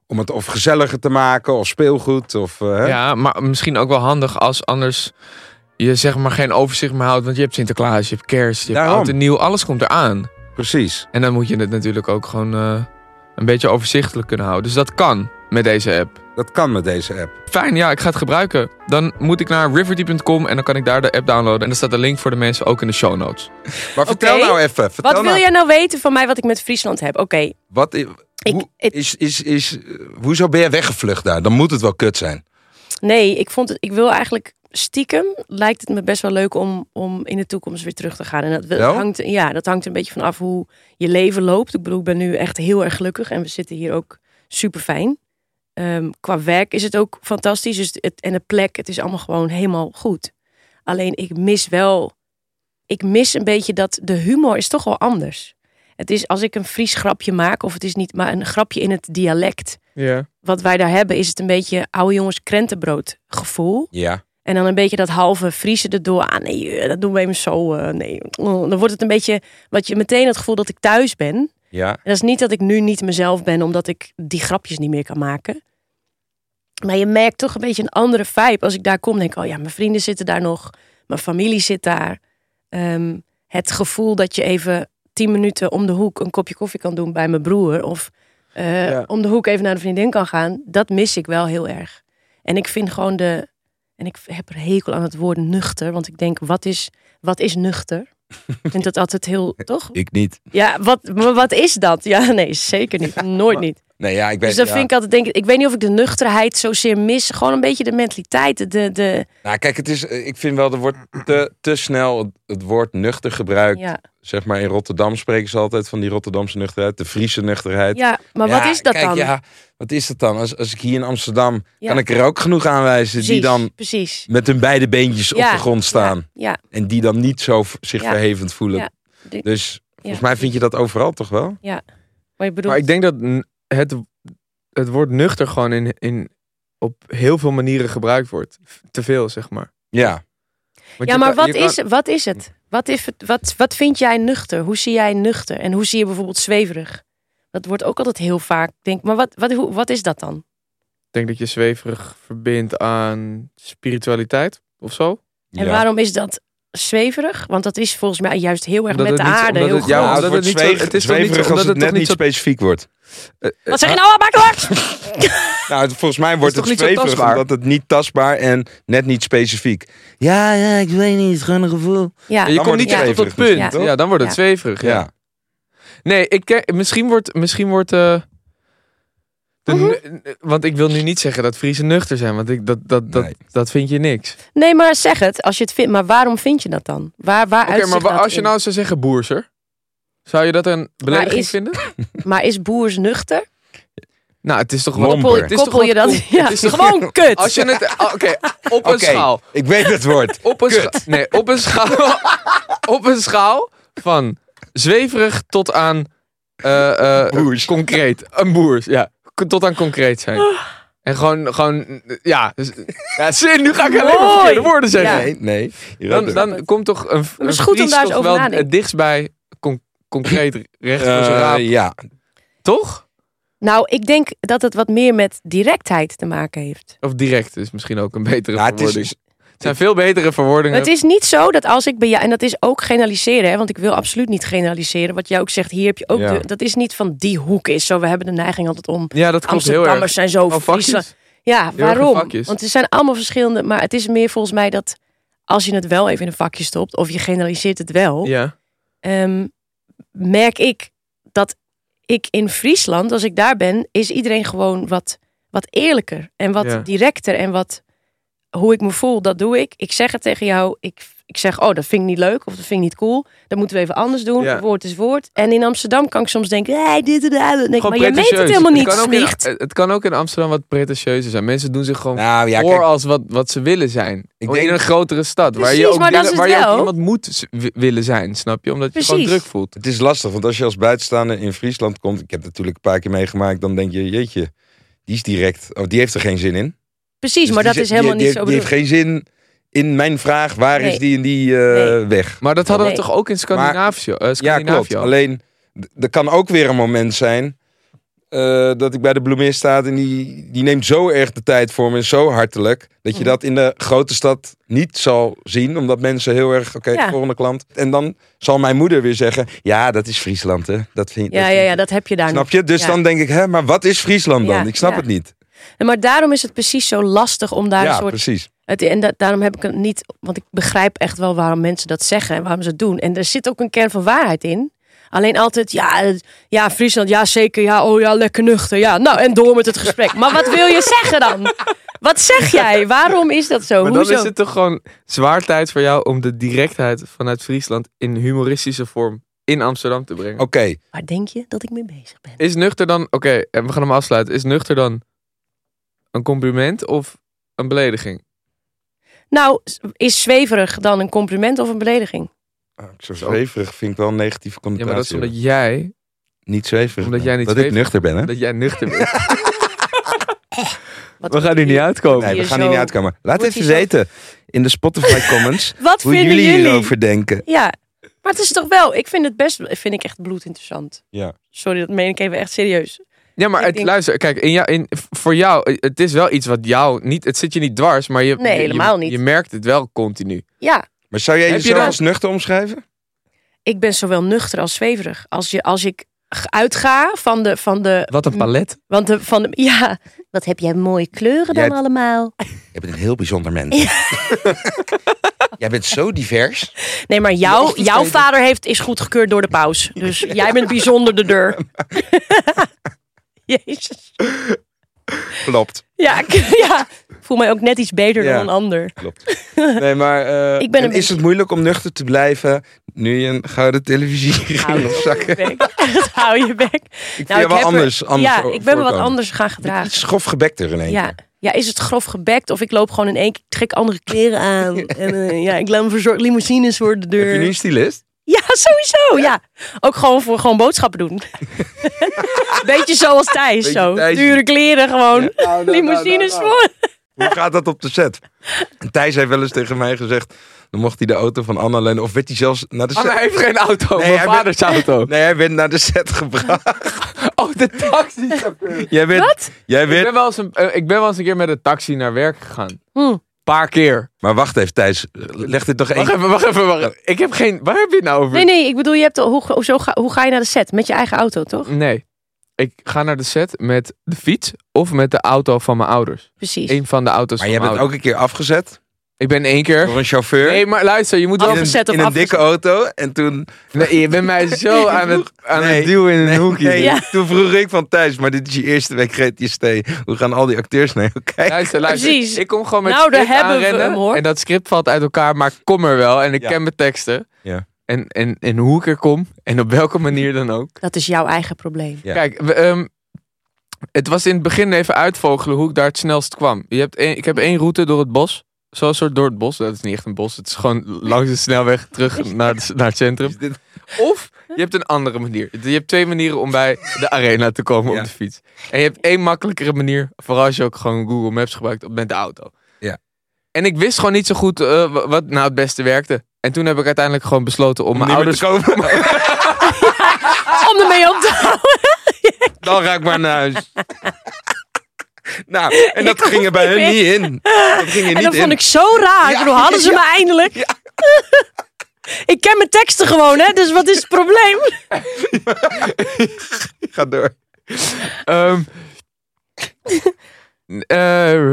S6: om het of gezelliger te maken of speelgoed. Of, eh, hè?
S4: Ja, maar misschien ook wel handig als anders je zeg maar geen overzicht meer houdt. Want je hebt Sinterklaas, je hebt kerst, je hebt
S6: Daarom.
S4: oud en nieuw. Alles komt eraan.
S6: Precies.
S4: En dan moet je het natuurlijk ook gewoon eh, een beetje overzichtelijk kunnen houden. Dus dat kan met deze app.
S6: Dat kan met deze app.
S4: Fijn, ja, ik ga het gebruiken. Dan moet ik naar riverty.com en dan kan ik daar de app downloaden. En daar staat een link voor de mensen ook in de show notes.
S6: Maar vertel
S5: Oké.
S6: nou even. Vertel
S5: Wat wil
S6: nou,
S5: jij nou weten van mij wat ik met Friesland heb? Oké,
S6: Wat, i-
S5: Ik-
S6: hoe,
S5: het-
S6: is, is, is, eh, hoezo ben je weggevlucht daar? Dan moet het wel kut zijn.
S5: nee, ik vond het, ik wil eigenlijk stiekem, lijkt het me best wel leuk om, om in de toekomst weer terug te gaan. En dat, dat
S6: Wel?
S5: hangt, ja, dat hangt er een beetje van af hoe je leven loopt. Ik bedoel, ik ben nu echt heel erg gelukkig en we zitten hier ook super fijn. qua werk is het ook fantastisch. Dus het, en de plek, het is allemaal gewoon helemaal goed. Alleen ik mis wel, ik mis een beetje dat de humor is toch wel anders. Het is als ik een Fries grapje maak, of het is niet maar een grapje in het dialect.
S4: Ja.
S5: wat wij daar hebben, is het een beetje oude jongens krentenbrood gevoel.
S6: Ja.
S5: En dan een beetje dat halve vriezen erdoor. Ah nee, eh, dat doen we even zo. eh, nee. Oh, Dan wordt het een beetje, wat je meteen het gevoel dat ik thuis ben. En
S6: Ja.
S5: dat is niet dat ik nu niet mezelf ben, omdat ik die grapjes niet meer kan maken. Maar je merkt toch een beetje een andere vibe. Als ik daar kom, denk ik, oh ja, mijn vrienden zitten daar nog. Mijn familie zit daar. Ehm, het gevoel dat je even tien minuten om de hoek een kopje koffie kan doen bij mijn broer. Of eh,
S4: Ja.
S5: om de hoek even naar de vriendin kan gaan. Dat mis ik wel heel erg. En ik vind gewoon de... En ik heb er hekel aan het woord nuchter. Want ik denk, wat is, wat is nuchter? ik vind dat altijd heel... Toch?
S6: Ik niet.
S5: Ja, wat, maar wat is dat? Ja, nee, zeker niet. Nooit niet.
S6: Nee, ja, ik weet
S5: Dus dan
S6: ja.
S5: vind ik altijd, denk ik, ik weet niet of ik de nuchterheid zozeer mis. Gewoon een beetje de mentaliteit. De, de,
S6: Nou, kijk, het is, eh, ik vind wel, er wordt te, te snel het, het woord nuchter gebruikt.
S5: ja.
S6: Zeg maar, in Rotterdam spreken ze altijd van die Rotterdamse nuchterheid, de Friese nuchterheid.
S5: ja, maar
S6: Ja,
S5: wat is dat
S6: kijk,
S5: dan?
S6: Ja, wat is dat dan? Als, als ik hier in Amsterdam,
S5: Ja.
S6: kan ik er ook genoeg aanwijzen die
S5: Precies,
S6: dan
S5: Precies.
S6: met hun beide beentjes
S5: Ja,
S6: op de grond staan.
S5: Ja,
S6: En die dan niet zo v- zich
S5: Ja.
S6: verhevend voelen.
S5: Ja. Dit-
S6: Dus volgens mij vind je dat overal toch wel?
S5: maar je bedoelt...
S4: Maar ik denk dat n- het, het woord nuchter gewoon in, in, op heel veel manieren gebruikt wordt. F- Te veel, zeg maar.
S6: Ja.
S4: Want
S5: ja,
S4: je
S5: maar
S4: kan-
S5: wat,
S4: je kan-
S5: is, wat is het? Wat, is, het- wat, wat vind jij nuchter? Hoe zie jij nuchter? En hoe zie je bijvoorbeeld zweverig? Dat wordt ook altijd heel vaak. Ik Denk, maar wat, wat, hoe, wat is dat dan?
S4: Ik denk dat je zweverig verbindt aan spiritualiteit of zo.
S5: En
S6: ja.
S5: waarom is dat zweverig? Want dat is volgens mij juist heel erg met de
S4: het niet-
S5: aarde.
S4: omdat
S5: heel
S4: het- ja,
S5: groot.
S4: omdat het niet zo- het is toch niet zo-
S6: zweverig
S4: omdat het toch niet zo-
S6: specifiek wordt.
S5: Wat zeg je nou? Maak het
S6: Nou, het- volgens mij wordt
S4: toch
S6: het,
S4: niet zo
S6: zweverig
S4: tastbaar?
S6: omdat het niet tastbaar en net niet specifiek. Ja, ja, ik weet niet, het is gewoon een gevoel.
S5: Ja,
S4: je
S6: Dan
S4: komt
S6: wordt
S4: niet
S5: het
S4: echt op dat
S6: zweverig
S4: punt.
S5: misschien,
S4: Ja.
S6: toch?
S4: dan wordt het
S5: Ja.
S4: zweverig. Ja.
S6: Ja,
S4: Nee, ik ken- misschien wordt. Misschien wordt eh, de
S5: Mhm.
S4: nu- eh, want ik wil nu niet zeggen dat Friese nuchter zijn, want ik, dat, dat, dat,
S6: Nee.
S4: dat vind je niks. Oké,
S5: Nee, maar zeg het als je het vindt. Maar waarom vind je dat dan? Waar, waar uitzicht
S4: maar wa-
S5: dat
S4: als je
S5: in? Nou,
S4: nou zou zeggen boerser, zou je dat een belediging
S5: is-
S4: vinden?
S5: Maar is boers nuchter?
S4: Nou, het is toch wel.
S6: Lomper.
S5: Koppel,
S4: Het is toch
S5: koppel je
S4: wat
S5: dat?
S4: kom-
S5: Ja,
S4: het is toch-
S5: gewoon kut.
S4: Als je het. Oké, op een
S6: Oké.
S4: schaal.
S6: ik weet het woord.
S4: Op een, scha- nee, op een schaal. op een schaal van zweverig tot aan. eh, eh,
S6: Boers.
S4: Concreet. Een boers, ja. K- Tot aan concreet zijn.
S5: Ah.
S4: En gewoon, gewoon ja. dus- ja zin, nu ga ik alleen maar
S5: Mooi.
S4: verkeerde woorden zeggen.
S5: Ja.
S6: Nee, nee. Je
S4: Dan,
S6: weet het.
S4: dan komt toch een,
S5: Maar het is
S4: een
S5: goed om
S4: Fries
S5: daar eens
S4: toch
S5: over
S4: wel
S5: na te denken.
S4: het dichtst bij con- concreet recht voor zijn
S6: Eh,
S4: raap.
S6: ja,
S4: Toch?
S5: Nou, ik denk dat het wat meer met directheid te maken heeft.
S4: Of direct is misschien ook een betere
S6: Nou, het
S4: verwoording. Het,
S6: is,
S4: zijn veel betere verwoordingen.
S5: Het is niet zo dat als ik bij jou, en dat is ook generaliseren, hè, want ik wil absoluut niet generaliseren. Wat jij ook zegt, hier heb je ook.
S6: Ja.
S5: de- dat is niet van die hoek is zo. We hebben de neiging altijd om.
S4: ja, dat klopt heel erg.
S5: Amsterdammers zijn zo
S4: Oh, vakjes.
S5: Friesland. Ja,
S4: Heel erg in
S5: waarom?
S4: vakjes.
S5: Want er zijn allemaal verschillende. Maar het is meer volgens mij dat als je het wel even in een vakje stopt, of je generaliseert het wel.
S4: Ja.
S5: ehm, merk ik dat ik in Friesland, als ik daar ben, is iedereen gewoon wat, wat eerlijker en wat
S4: Ja.
S5: directer en wat hoe ik me voel, dat doe ik. Ik zeg het tegen jou, ik, ik zeg, oh, dat vind ik niet leuk of dat vind ik niet cool. Dat moeten we even anders doen.
S6: Ja.
S5: Woord is woord. En in Amsterdam kan ik soms denken, hey, dit en dat. Dan denk ik, Maar je meent het
S4: pretentieus.
S5: helemaal niet,
S4: kan ook in-
S5: smicht.
S4: het- het kan ook in Amsterdam wat pretentieuzer zijn. Mensen doen zich gewoon
S6: Nou ja,
S4: voor
S6: kijk, Oh,
S4: als wat, wat ze willen zijn.
S6: Ik
S4: Ik denk
S6: denk-
S4: in een grotere stad. waar je
S5: Precies,
S4: ook,
S5: maar dat
S4: willen-
S5: is
S4: waar
S5: het
S4: je ook
S5: wel.
S4: iemand moet z- wi- willen zijn, snap je? Omdat je gewoon
S5: Precies.
S4: druk voelt.
S6: het is lastig, want als je als buitenstaander in Friesland komt, ik heb natuurlijk een paar keer meegemaakt, dan denk je, jeetje, die is direct, oh, die heeft er geen zin in.
S5: Precies,
S6: Dus
S5: maar
S6: die
S5: dat is
S6: zit- die-
S5: helemaal
S6: die
S5: niet
S6: heeft-
S5: zo
S6: Die
S5: bedoeld.
S6: heeft geen zin in mijn vraag, waar is
S5: Nee.
S6: die en die eh, weg?
S4: Maar dat hadden we
S5: Nee.
S4: toch ook in Scandinavië? eh,
S6: Ja,
S4: Scandinavië
S6: klopt.
S4: al?
S6: Alleen, d- er kan ook weer een moment zijn eh, dat ik bij de bloemist sta en die, die neemt zo erg de tijd voor me en zo hartelijk, dat je
S5: Mhm.
S6: dat in de grote stad niet zal zien, omdat mensen heel erg, oké,
S5: Ja.
S6: volgende klant. En dan zal mijn moeder weer zeggen, ja, dat is Friesland, hè. Dat vind,
S5: Ja,
S6: dat
S5: ja,
S6: vind-
S5: ja, dat heb je daar
S6: Snap je? Dus
S5: Ja.
S6: dan denk ik, hè, maar wat is Friesland dan?
S5: Ja,
S6: ik snap
S5: ja.
S6: het niet.
S5: niet. Maar daarom is het precies zo lastig om daar
S6: Ja,
S5: een soort
S6: precies.
S5: Het, en da- daarom heb ik het niet, want ik begrijp echt wel waarom mensen dat zeggen en waarom ze het doen. En er zit ook een kern van waarheid in. Alleen altijd, ja, eh, ja Friesland, ja zeker, ja, oh ja, lekker nuchter. Ja, nou en door met het gesprek. Maar wat wil je zeggen dan? Wat zeg jij? Waarom is dat zo?
S4: Maar dan
S5: Hoezo?
S4: is het toch gewoon zwaar tijd voor jou om de directheid vanuit Friesland in humoristische vorm in Amsterdam te brengen.
S6: Oké,
S5: Waar denk je dat ik mee bezig ben?
S4: Is nuchter dan, oké, en we gaan hem afsluiten. Is nuchter dan een compliment of een belediging?
S5: Nou, is zweverig dan een compliment of een belediging?
S6: Ah, ik zo zweverig vind ik wel een negatieve
S4: Ja,
S6: connotatie.
S4: maar dat is
S6: hebben.
S4: omdat jij,
S6: Niet zweverig.
S4: omdat
S6: ben.
S4: jij niet
S6: dat ik
S4: zweverig-
S6: nuchter ben, hè?
S4: dat jij nuchter bent.
S5: Wat
S4: we gaan hier niet uitkomen.
S6: Nee, we
S5: hier
S6: gaan
S5: zo-
S6: hier niet uitkomen. Laat
S5: wordt
S6: even
S5: hier zo-
S6: weten in de Spotify comments
S5: Wat
S6: hoe
S5: vinden
S6: jullie
S5: jullie?
S6: hierover denken.
S5: Ja, maar het is toch wel, ik vind het best, vind ik echt bloedinteressant.
S6: Ja.
S5: Sorry, dat meen ik even echt serieus.
S4: Ja, maar
S5: Ik
S4: het,
S5: denk-
S4: luister, kijk, in jou, in, voor jou, het is wel iets wat jou niet, het zit je niet dwars, maar je,
S5: Nee,
S4: je-
S5: helemaal
S4: je,
S5: niet.
S4: je merkt het wel continu.
S5: Ja,
S6: Maar zou jij
S4: Heb je
S6: jezelf
S4: dat?
S6: als nuchter omschrijven?
S5: ik ben zowel nuchter als zweverig. Als, je, als ik g- uitga van de, van de,
S4: Wat een palet.
S5: want de, van de, ja, wat heb jij mooie kleuren
S6: Jij
S5: dan
S6: hebt-
S5: allemaal?
S6: Je bent een heel bijzonder mens. jij bent zo divers.
S5: Nee, maar jou, jouw vader heeft, is goedgekeurd door de paus. Dus jij bent bijzonder de deur. Jezus.
S6: Klopt.
S5: Ja, ik- ja, ik voel mij ook net iets beter
S6: Ja.
S5: dan een ander.
S6: Klopt. Nee, maar eh,
S5: Ik ben
S6: en
S5: een
S6: is
S5: beetje-
S6: het moeilijk om nuchter te blijven nu je een gouden televisie
S5: Hou
S6: ging
S5: je
S6: opzakken?
S5: bek. Dat hou je bek.
S6: Ik vind
S5: Nou,
S6: je
S5: ik
S6: wel
S5: heb er-
S6: anders, anders
S5: ja,
S6: voor-
S5: ik ben me wat
S6: voorkomen.
S5: anders gaan gedragen.
S6: Iets schofgebekter in één
S5: Ja.
S6: keer.
S5: ja, is het grof gebekt of ik loop gewoon in één keer, ik trek andere kleren aan. En eh, ja, ik laat me verzorgen, limousines voor de deur.
S6: Heb je nu een stylist?
S5: Ja, sowieso. Ja. Ook gewoon voor gewoon boodschappen doen. Beetje zoals Thijs.
S6: Beetje
S5: zo.
S6: Thijs. nou,
S5: Dure kleren gewoon. Limousines voor.
S6: Hoe gaat dat op de set? En Thijs heeft wel eens tegen mij gezegd... dan mocht hij de auto van Anna lenen. Of werd hij zelfs naar de
S5: Oh,
S6: set...
S4: Anne Ah, heeft geen auto,
S6: Nee,
S4: mijn
S6: hij
S4: vaders auto.
S6: Nee, hij werd naar de set gebracht.
S4: Oh, de taxi.
S6: Jij werd, Jij
S4: ik,
S6: werd...
S4: ben wel eens een, eh, ik ben wel eens een keer met een taxi naar werk gegaan.
S5: Hm.
S4: Paar keer.
S6: Maar wacht even, Thijs. Leg dit nog één
S4: Wacht even, wacht even, wacht even. Ik heb geen, waar heb je het nou over?
S5: Nee, nee. Ik bedoel, je hebt, al- hoe, hoe, zo ga, hoe ga je naar de set? Met je eigen auto, toch?
S4: Nee. Ik ga naar de set met de fiets of met de auto van mijn ouders.
S5: Precies.
S4: Eén van de auto's
S6: Maar
S4: van
S6: jij
S4: mijn
S6: bent
S4: ouders.
S6: ook een keer afgezet
S4: Ik ben één keer.
S6: door een chauffeur.
S4: Nee, maar luister, je moet wel...
S6: in een,
S5: afgezet of
S6: in een
S5: afgezet?
S6: dikke auto. En toen,
S4: Nee, je bent mij zo aan het, aan
S6: Nee.
S4: het duwen in een hoekje.
S6: nee,
S5: Ja.
S6: toen vroeg ik van Thijs, maar dit is je eerste week GTST. Hoe gaan al die acteurs naar jou kijken?
S4: Luister, luister.
S5: Precies.
S4: Ik kom gewoon met
S5: Nou, daar
S4: script
S5: hebben we
S4: aanrennen.
S5: hem, hoor.
S4: En dat script valt uit elkaar, maar ik kom er wel. En ik
S6: Ja.
S4: ken mijn teksten.
S6: Ja.
S4: En, en, en hoe ik er kom. En op welke manier dan ook.
S5: Dat is jouw eigen probleem.
S6: Ja.
S4: Kijk, we, ehm, het was in het begin even uitvogelen hoe ik daar het snelst kwam. Je hebt één- ik heb één route door het bos. Zo'n soort door het bos. Dat is niet echt een bos. Het is gewoon langs de snelweg terug naar, het- naar het centrum.
S6: Is dit-
S4: Of je hebt een andere manier. Je hebt twee manieren om bij de arena te komen
S6: Ja.
S4: op de fiets. En je hebt één makkelijkere manier. Vooral als je ook gewoon Google Maps gebruikt met de auto.
S6: Ja.
S4: En ik wist gewoon niet zo goed eh, wa- wat nou het beste werkte. En toen heb ik uiteindelijk gewoon besloten om,
S6: Om
S4: mijn
S6: niet meer
S4: ouders...
S6: te komen. Ah!
S5: Om ermee op te houden.
S6: Dan ga ik maar naar huis. nou, en dat ging er bij hun niet in. Dat ging er
S5: En
S6: niet
S5: dat
S6: in.
S5: vond ik zo raar. Ik bedoel, hadden ze me eindelijk. ik ken mijn teksten gewoon, hè. Dus wat is het probleem?
S6: Ga door.
S4: Ehm eh,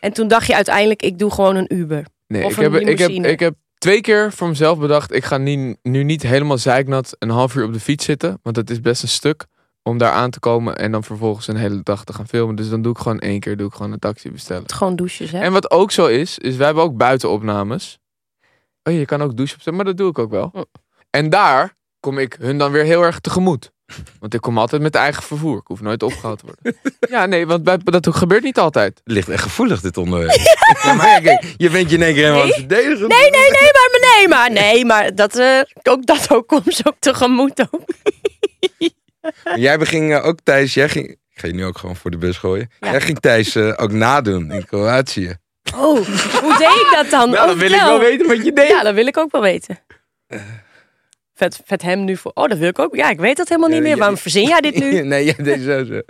S5: En toen dacht je uiteindelijk, ik doe gewoon een Uber.
S4: nee,
S5: Of
S4: ik
S5: een
S4: heb, ik, heb,
S5: limousine.
S4: ik heb twee keer voor mezelf bedacht. Ik ga nu, nu niet helemaal zeiknat een half uur op de fiets zitten. Want dat is best een stuk. om daar aan te komen en dan vervolgens een hele dag te gaan filmen. Dus dan doe ik gewoon één keer doe ik gewoon een taxi bestellen.
S5: Het gewoon douches, hè?
S4: En wat ook zo is, is wij hebben ook buitenopnames. Oh, je kan ook douche opzetten, maar dat doe ik ook wel.
S5: Oh.
S4: En daar kom ik hun dan weer heel erg tegemoet. Want ik kom altijd met eigen vervoer. Ik hoef nooit opgehaald te worden. Ja, nee, want bij, dat gebeurt niet altijd.
S6: Ligt echt gevoelig, dit onderwerp. Ja, maar ja, kijk, je bent je in één keer helemaal aan het verdedigen.
S5: Nee, nee, nee, maar maar nee, maar nee, maar dat, eh, ook, dat ook komt ze ook tegemoet ook.
S6: Maar Jij ging eh, ook Thijs, jij ging... Ik ga je nu ook gewoon voor de bus gooien.
S5: Ja.
S6: Jij ging Thijs eh, ook nadoen in Kroatië.
S5: Oh, hoe deed ik dat dan?
S6: Nou,
S5: Oh,
S6: dan wil ik
S5: vertel.
S6: wel weten wat je deed. Eh.
S5: Ja, dat wil ik ook wel weten. Vet, vet hem nu voor. Oh, dat wil ik ook. Ja, ik weet dat helemaal niet
S6: Ja,
S5: meer.
S6: ja,
S5: Waarom verzin jij dit nu?
S6: nee, jij deed zo zo.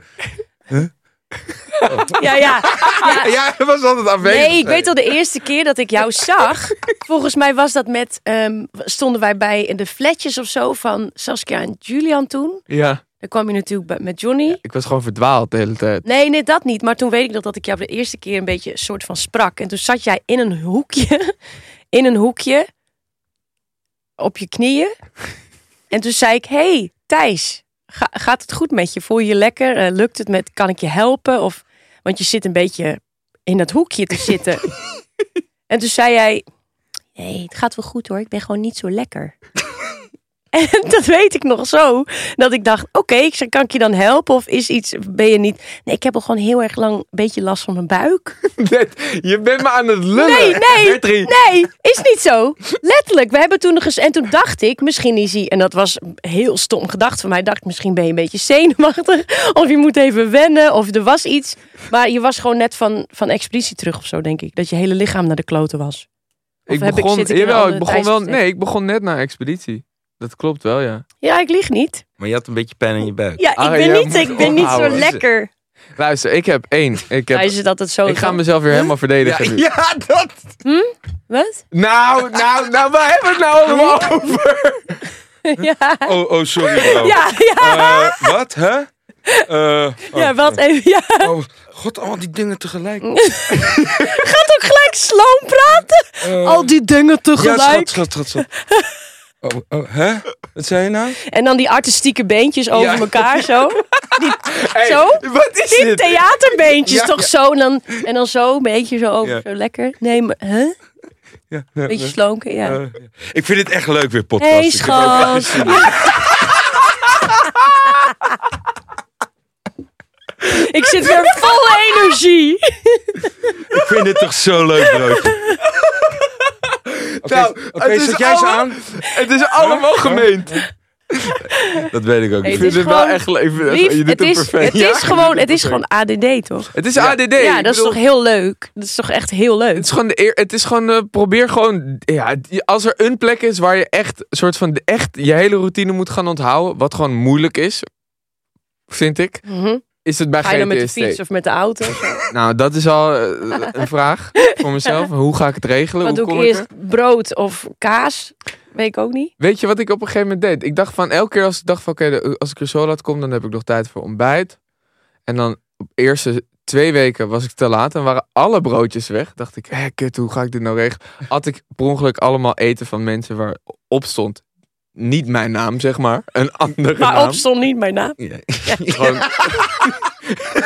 S5: Ja, ja.
S6: Ja, dat was altijd aanwezig.
S5: Nee, ik weet al de eerste keer dat ik jou zag. Volgens mij was dat met. ehm, stonden wij bij de flatjes of zo van Saskia en Julian toen.
S4: Ja.
S5: Dan kwam je natuurlijk bij- met Johnny.
S4: Ik was gewoon verdwaald de hele tijd.
S5: Nee, nee, dat niet. Maar toen weet ik nog dat ik jou de eerste keer een beetje soort van sprak. En toen zat jij in een hoekje. In een hoekje. Op je knieën. En toen zei ik, hey, Thijs, ga- gaat het goed met je? Voel je je lekker? Eh, lukt het met, kan ik je helpen? Of, want je zit een beetje in dat hoekje te zitten. en toen zei jij, nee, het gaat wel goed hoor. Ik ben gewoon niet zo lekker. En dat weet ik nog zo. Dat ik dacht, oké, ik zei, kan ik je dan helpen? Of is iets, ben je niet... Nee, ik heb al gewoon heel erg lang een beetje last van mijn buik.
S4: Net, je bent me aan het lullen.
S5: Nee, nee,
S4: Bertrie.
S5: nee, is niet zo. Letterlijk, we hebben toen nog eens... En toen dacht ik, misschien is hij... En dat was een heel stom gedacht van mij. Ik dacht, misschien ben je een beetje zenuwachtig. Of je moet even wennen. Of er was iets. Maar je was gewoon net van, van expeditie terug of zo, denk ik. Dat je hele lichaam naar de kloten was. Of
S4: Ik
S5: heb ik-
S4: begon,
S5: zit ik in een
S4: jawel, ik
S5: andere
S4: begon wel,
S5: tijdsbestek?
S4: nee, ik begon net na expeditie. Dat klopt wel, ja.
S5: Ja, ik lieg niet.
S6: Maar je had een beetje pijn in je buik.
S5: Ja, ik
S4: Ah,
S5: ben,
S4: jij
S5: niet, ik
S4: moet
S5: ben niet zo
S4: ophouden. dus
S5: lekker.
S4: Luister, ik heb één. Ik,
S5: Hij
S4: heb,
S5: is dat het zo
S4: ik ga
S5: dan-
S4: mezelf weer helemaal verdedigen nu.
S6: Ja, dat...
S5: Wat?
S4: Nou, nou, nou, waar hebben we het nou allemaal over?
S5: Ja.
S6: Oh, oh sorry bro.
S5: Ja, ja,
S6: Eh, wat, hè? Eh, oh,
S5: ja, wat Oh, even. Ja,
S6: oh, god, al die dingen tegelijk.
S5: gaat ook gelijk sloom praten.
S6: Eh,
S5: Al die dingen
S6: Ja, schat,
S5: tegelijk.
S6: schat, schat, schat. Oh, oh, hè? Wat zei je nou?
S5: en dan die artistieke beentjes over
S6: Ja.
S5: elkaar zo.
S4: Hey,
S5: Zo?
S4: Wat is
S5: Die
S4: dit?
S5: theaterbeentjes
S6: Ja,
S5: toch zo. En dan, en dan zo, een beetje zo over.
S6: Ja.
S5: Zo lekker. Nee, maar, hè?
S6: Ja, ja,
S5: Beetje
S6: ja.
S5: slonken, ja.
S6: Eh, ik vind het echt leuk weer, podcast.
S5: hey,
S6: Ik heb ook-
S5: schat. Ik zit weer vol energie.
S6: Ik vind dit toch zo leuk, bro. Oké,
S4: Nou, het is
S6: zet jij ze
S4: allemaal-
S6: aan?
S4: Het is allemaal gemeend.
S6: Dat weet ik ook
S5: Hey,
S6: niet.
S4: Ik vind
S5: is
S4: het wel
S5: gewoon
S4: echt leuk.
S5: Lief,
S4: Je doet
S5: het
S4: het
S5: is,
S4: perfect.
S5: het
S4: Ja,
S5: is
S4: je
S5: gewoon,
S4: doet
S5: het is gewoon ADD, toch?
S4: Het is ADD. ik
S5: Ja, dat is
S4: bedoel,
S5: toch heel leuk. Dat is toch echt heel leuk.
S4: Het is gewoon, de eer- het is gewoon eh, probeer gewoon, ja, die- als er een plek is waar je echt, soort van, de- echt je hele routine moet gaan onthouden, wat gewoon moeilijk is, vind ik,
S5: Mhm.
S4: is het bij
S5: Ga je dan met de
S4: GTST.
S5: fiets of met de auto?
S4: Nou, dat is al eh, een vraag voor mezelf. Hoe ga ik het regelen?
S5: Wat
S4: Hoe
S5: doe
S4: kom
S5: ik
S4: ik er?
S5: eerst? Brood of kaas? Weet ik ook niet.
S4: Weet je wat ik op een gegeven moment deed? Ik dacht van elke keer als ik dacht van oké, de- als ik er zo laat kom, dan heb ik nog tijd voor ontbijt. En dan op eerste twee weken was ik te laat en waren alle broodjes weg. Dacht ik, hé kut, hoe ga ik dit nou regelen? Had ik per ongeluk allemaal eten van mensen waarop stond niet mijn naam, zeg maar. Een andere
S5: Maar
S4: naam.
S5: op stond niet mijn naam.
S6: Ja.
S4: Gewoon-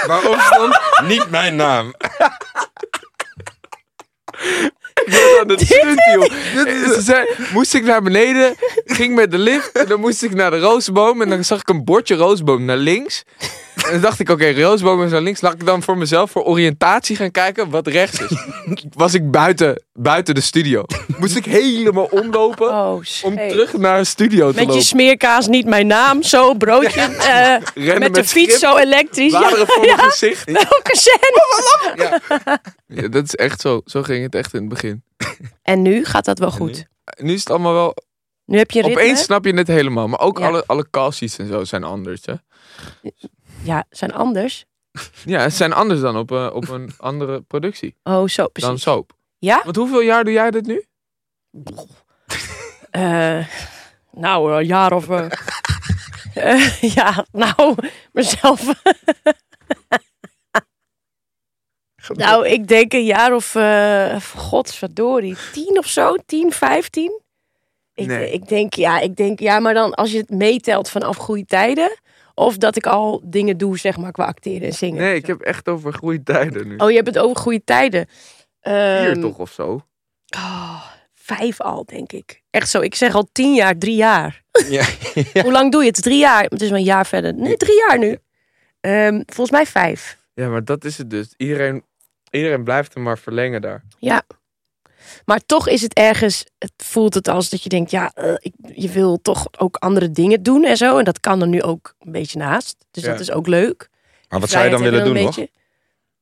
S6: Waarom stond niet mijn naam?
S4: aan het stunt, joh. Ze zei, moest ik naar beneden, ging met de lift en dan moest ik naar de roosboom en dan zag ik een bordje roosboom naar links. En dan dacht ik, oké, roosboom is naar links. Laat ik dan voor mezelf voor oriëntatie gaan kijken wat rechts is. Was ik buiten, buiten de studio. Moest ik helemaal omlopen
S5: Oh,
S4: om
S5: scheet.
S4: terug naar een studio te
S5: Met je
S4: lopen.
S5: smeerkaas, niet mijn naam. Zo, broodje. eh,
S4: Rennen
S5: met de
S4: met
S5: fiets,
S4: schip,
S5: zo elektrisch. Ja,
S4: Bladeren voor mijn gezicht.
S5: welke zin?
S4: Ja, dat is echt zo. Zo ging het echt in het begin.
S5: En nu gaat dat wel goed.
S4: Nu is het allemaal wel...
S5: Nu heb je ritme.
S4: Opeens snap je het helemaal. Maar ook
S5: Ja.
S4: alle, alle callsheets en zo zijn anders, hè.
S5: Ja, zijn anders.
S4: Ja, ze zijn anders dan op, eh, op een andere productie.
S5: Oh, zo,
S4: Dan
S5: precies.
S4: soap.
S5: Ja?
S4: Want hoeveel jaar doe jij dit nu?
S5: Eh, nou, een jaar of... eh, eh, ja, nou, mezelf. nou, ik denk een jaar of... eh godverdorie, tien of zo? Tien, vijftien? Ik,
S4: Nee.
S5: ik, denk, ja, ik denk, ja, maar dan als je het meetelt vanaf goede tijden... Of dat ik al dingen doe, zeg maar, qua acteren en zingen.
S4: Nee, ik heb echt over groeitijden nu.
S5: Oh, je hebt het over goede tijden.
S4: Vier
S5: Ehm,
S4: toch of zo.
S5: oh, vijf al, denk ik. Echt zo. Ik zeg al tien jaar, drie jaar.
S6: Ja.
S5: Hoe lang doe je het? Drie jaar. Het is maar een jaar verder. Nee, drie jaar nu. Ehm, volgens mij vijf.
S4: Ja, maar dat is het dus. Iedereen, iedereen blijft hem maar verlengen daar.
S5: Maar toch is het ergens, het voelt het als dat je denkt, ja, eh, ik, je wil toch ook andere dingen doen en zo. En dat kan er nu ook een beetje naast. Dus
S4: Ja.
S5: dat is ook leuk.
S6: Maar wat zou je dan willen
S5: Vrijheid
S6: doen,
S5: hebben
S6: nog?
S5: een beetje.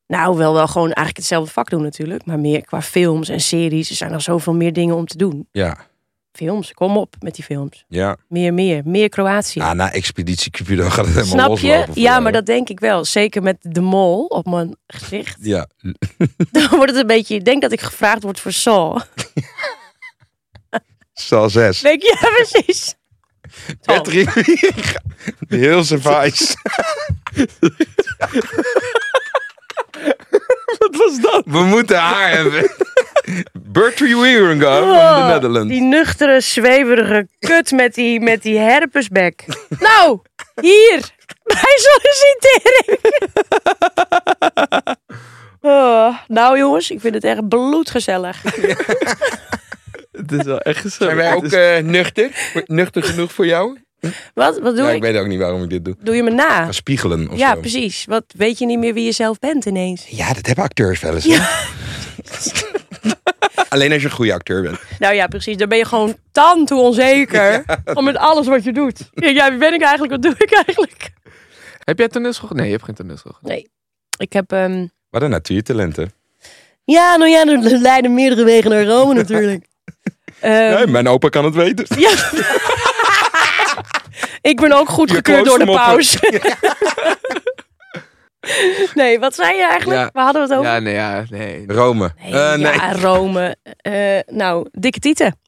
S5: Nou, wel, wel gewoon eigenlijk hetzelfde vak doen natuurlijk. Maar meer qua films en series. Er zijn nog zoveel meer dingen om te doen.
S6: Ja,
S5: Films, kom op met die films.
S6: ja.
S5: Meer, meer. Meer Kroatië.
S6: Ah, na Expeditie Cupido gaat het helemaal
S5: Snap
S6: loslopen
S5: je?
S6: voor
S5: Ja,
S6: jou,
S5: maar
S6: hè?
S5: dat denk ik wel. Zeker met de mol op mijn gezicht.
S6: Ja,
S5: Dan wordt het een beetje... Ik denk dat ik gevraagd word voor Saw.
S6: Sal 6.
S5: Denk je? Ja, precies. Saw.
S6: Patrick Wieg. Heel survives.
S4: Wat was dat?
S6: We moeten haar hebben. Bertrie Wieringa
S5: Oh,
S6: van de Netherlands.
S5: Die nuchtere, zweverige kut met die, met die herpesbek. nou, hier. Bij sollicitering. Oh, nou jongens, ik vind het echt bloedgezellig.
S4: Het is wel echt gezellig.
S6: Zijn wij
S5: dus-
S6: ook eh, nuchter? Nuchter genoeg voor jou?
S5: Wat, wat doe
S6: Ja, ik
S5: ik?
S6: weet ook niet waarom ik dit doe.
S5: Doe je me na?
S6: Gaan spiegelen of
S5: Ja,
S6: zo.
S5: precies. Wat, weet je niet meer wie je zelf bent ineens?
S6: Ja, dat hebben acteurs wel eens. hè? Alleen als je een goede acteur bent.
S5: Nou ja, precies. Dan ben je gewoon tanto onzeker. Om met alles wat je doet. Ja, wie ben ik eigenlijk? Wat doe ik eigenlijk?
S4: Heb jij toneelschool? gedaan? Nee, je hebt geen toneelschool. gedaan.
S5: Ik heb... ehm,
S6: Wat een natuurtalenten.
S5: Ja, nou ja, er leiden meerdere wegen naar Rome natuurlijk. Ehm,
S6: Nee, mijn opa kan het weten.
S5: ja. ik ben ook goedgekeurd door de
S6: kloostermoppen.
S5: paus. nee, wat zei je eigenlijk?
S4: Ja.
S5: Waar hadden we het over?
S4: Ja, nee, ja, nee.
S6: Rome.
S5: Nee,
S6: Eh, nee.
S5: Ja, Rome. Eh, nou, dikke tieten.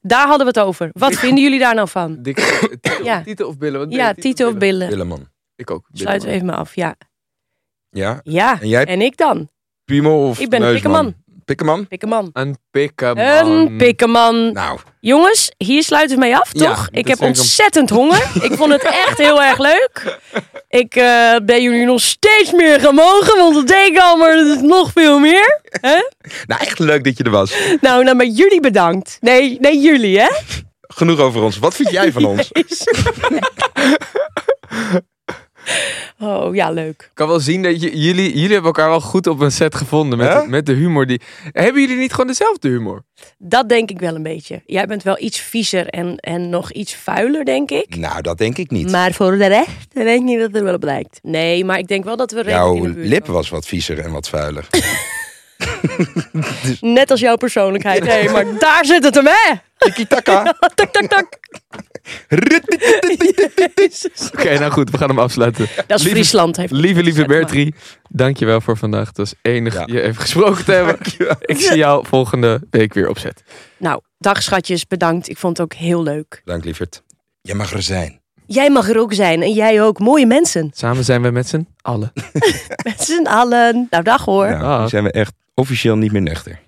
S5: Daar hadden we het over. Wat vinden jullie daar nou van?
S4: Dik, titel,
S5: Ja.
S4: titel of billen? Wat ben je?
S5: Ja, tieten of billen.
S6: Willeman.
S4: Ik ook. billen,
S5: Sluiten
S4: man.
S5: we even maar af, ja.
S6: Ja.
S5: Ja,
S6: En jij?
S5: en ik dan?
S6: Piemel of
S5: Ik ben een
S6: neusman?
S5: pikkeman.
S6: Pikkeman?
S5: Pikkeman.
S4: Een pikkeman.
S5: Een pikkeman.
S6: Nou,
S5: Jongens, hier sluiten we mee af,
S6: Ja,
S5: toch?
S4: dat
S5: ik
S4: vind
S5: heb
S4: ik een-
S5: ontzettend honger. Ik vond het echt heel erg leuk. Ik eh, ben jullie nog steeds meer gemogen, want dat deed ik al, maar dat is nog veel meer.
S6: nou, echt leuk dat je er was.
S5: Nou, nou, maar jullie bedankt. Nee, nee jullie, hè?
S6: Genoeg over ons. Wat vind jij van ons?
S5: Oh, ja, leuk.
S4: Ik kan wel zien dat j- jullie, jullie hebben elkaar wel goed op een set gevonden met,
S6: Hè?
S4: de- met de humor. Die... Hebben jullie niet gewoon dezelfde humor?
S5: Dat denk ik wel een beetje. Jij bent wel iets viezer en, en nog iets vuiler, denk ik.
S6: Nou, dat denk ik niet.
S5: Maar voor de rest denk ik niet dat er wel op lijkt. Nee, maar ik denk wel dat we redelijk
S6: Jouw
S5: in de buurt
S6: lip
S5: komen.
S6: was wat viezer en wat vuiler.
S5: Net als jouw persoonlijkheid. Nee, maar daar zit het hem, hè?
S6: Tiki-taka.
S5: Tak, tak, tak. Jezus.
S4: Oké, nou goed, we gaan hem afsluiten.
S5: Dat is
S4: Lieve-
S5: Friesland. Heeft
S4: Lieve, lieve
S5: Zeg maar.
S4: Bertrie, dankjewel voor vandaag. Het was enig
S6: Ja.
S4: je even gesproken te hebben. Ik zie jou volgende week weer op set.
S5: Nou, dag schatjes, bedankt. Ik vond het ook heel leuk.
S6: Dank, lieverd. Jij mag er zijn.
S5: Jij mag er ook zijn en jij ook. Mooie mensen.
S4: Samen zijn we met z'n allen.
S5: Met z'n allen. Nou, dag hoor.
S6: Nou, nu zijn we echt officieel niet meer nuchter.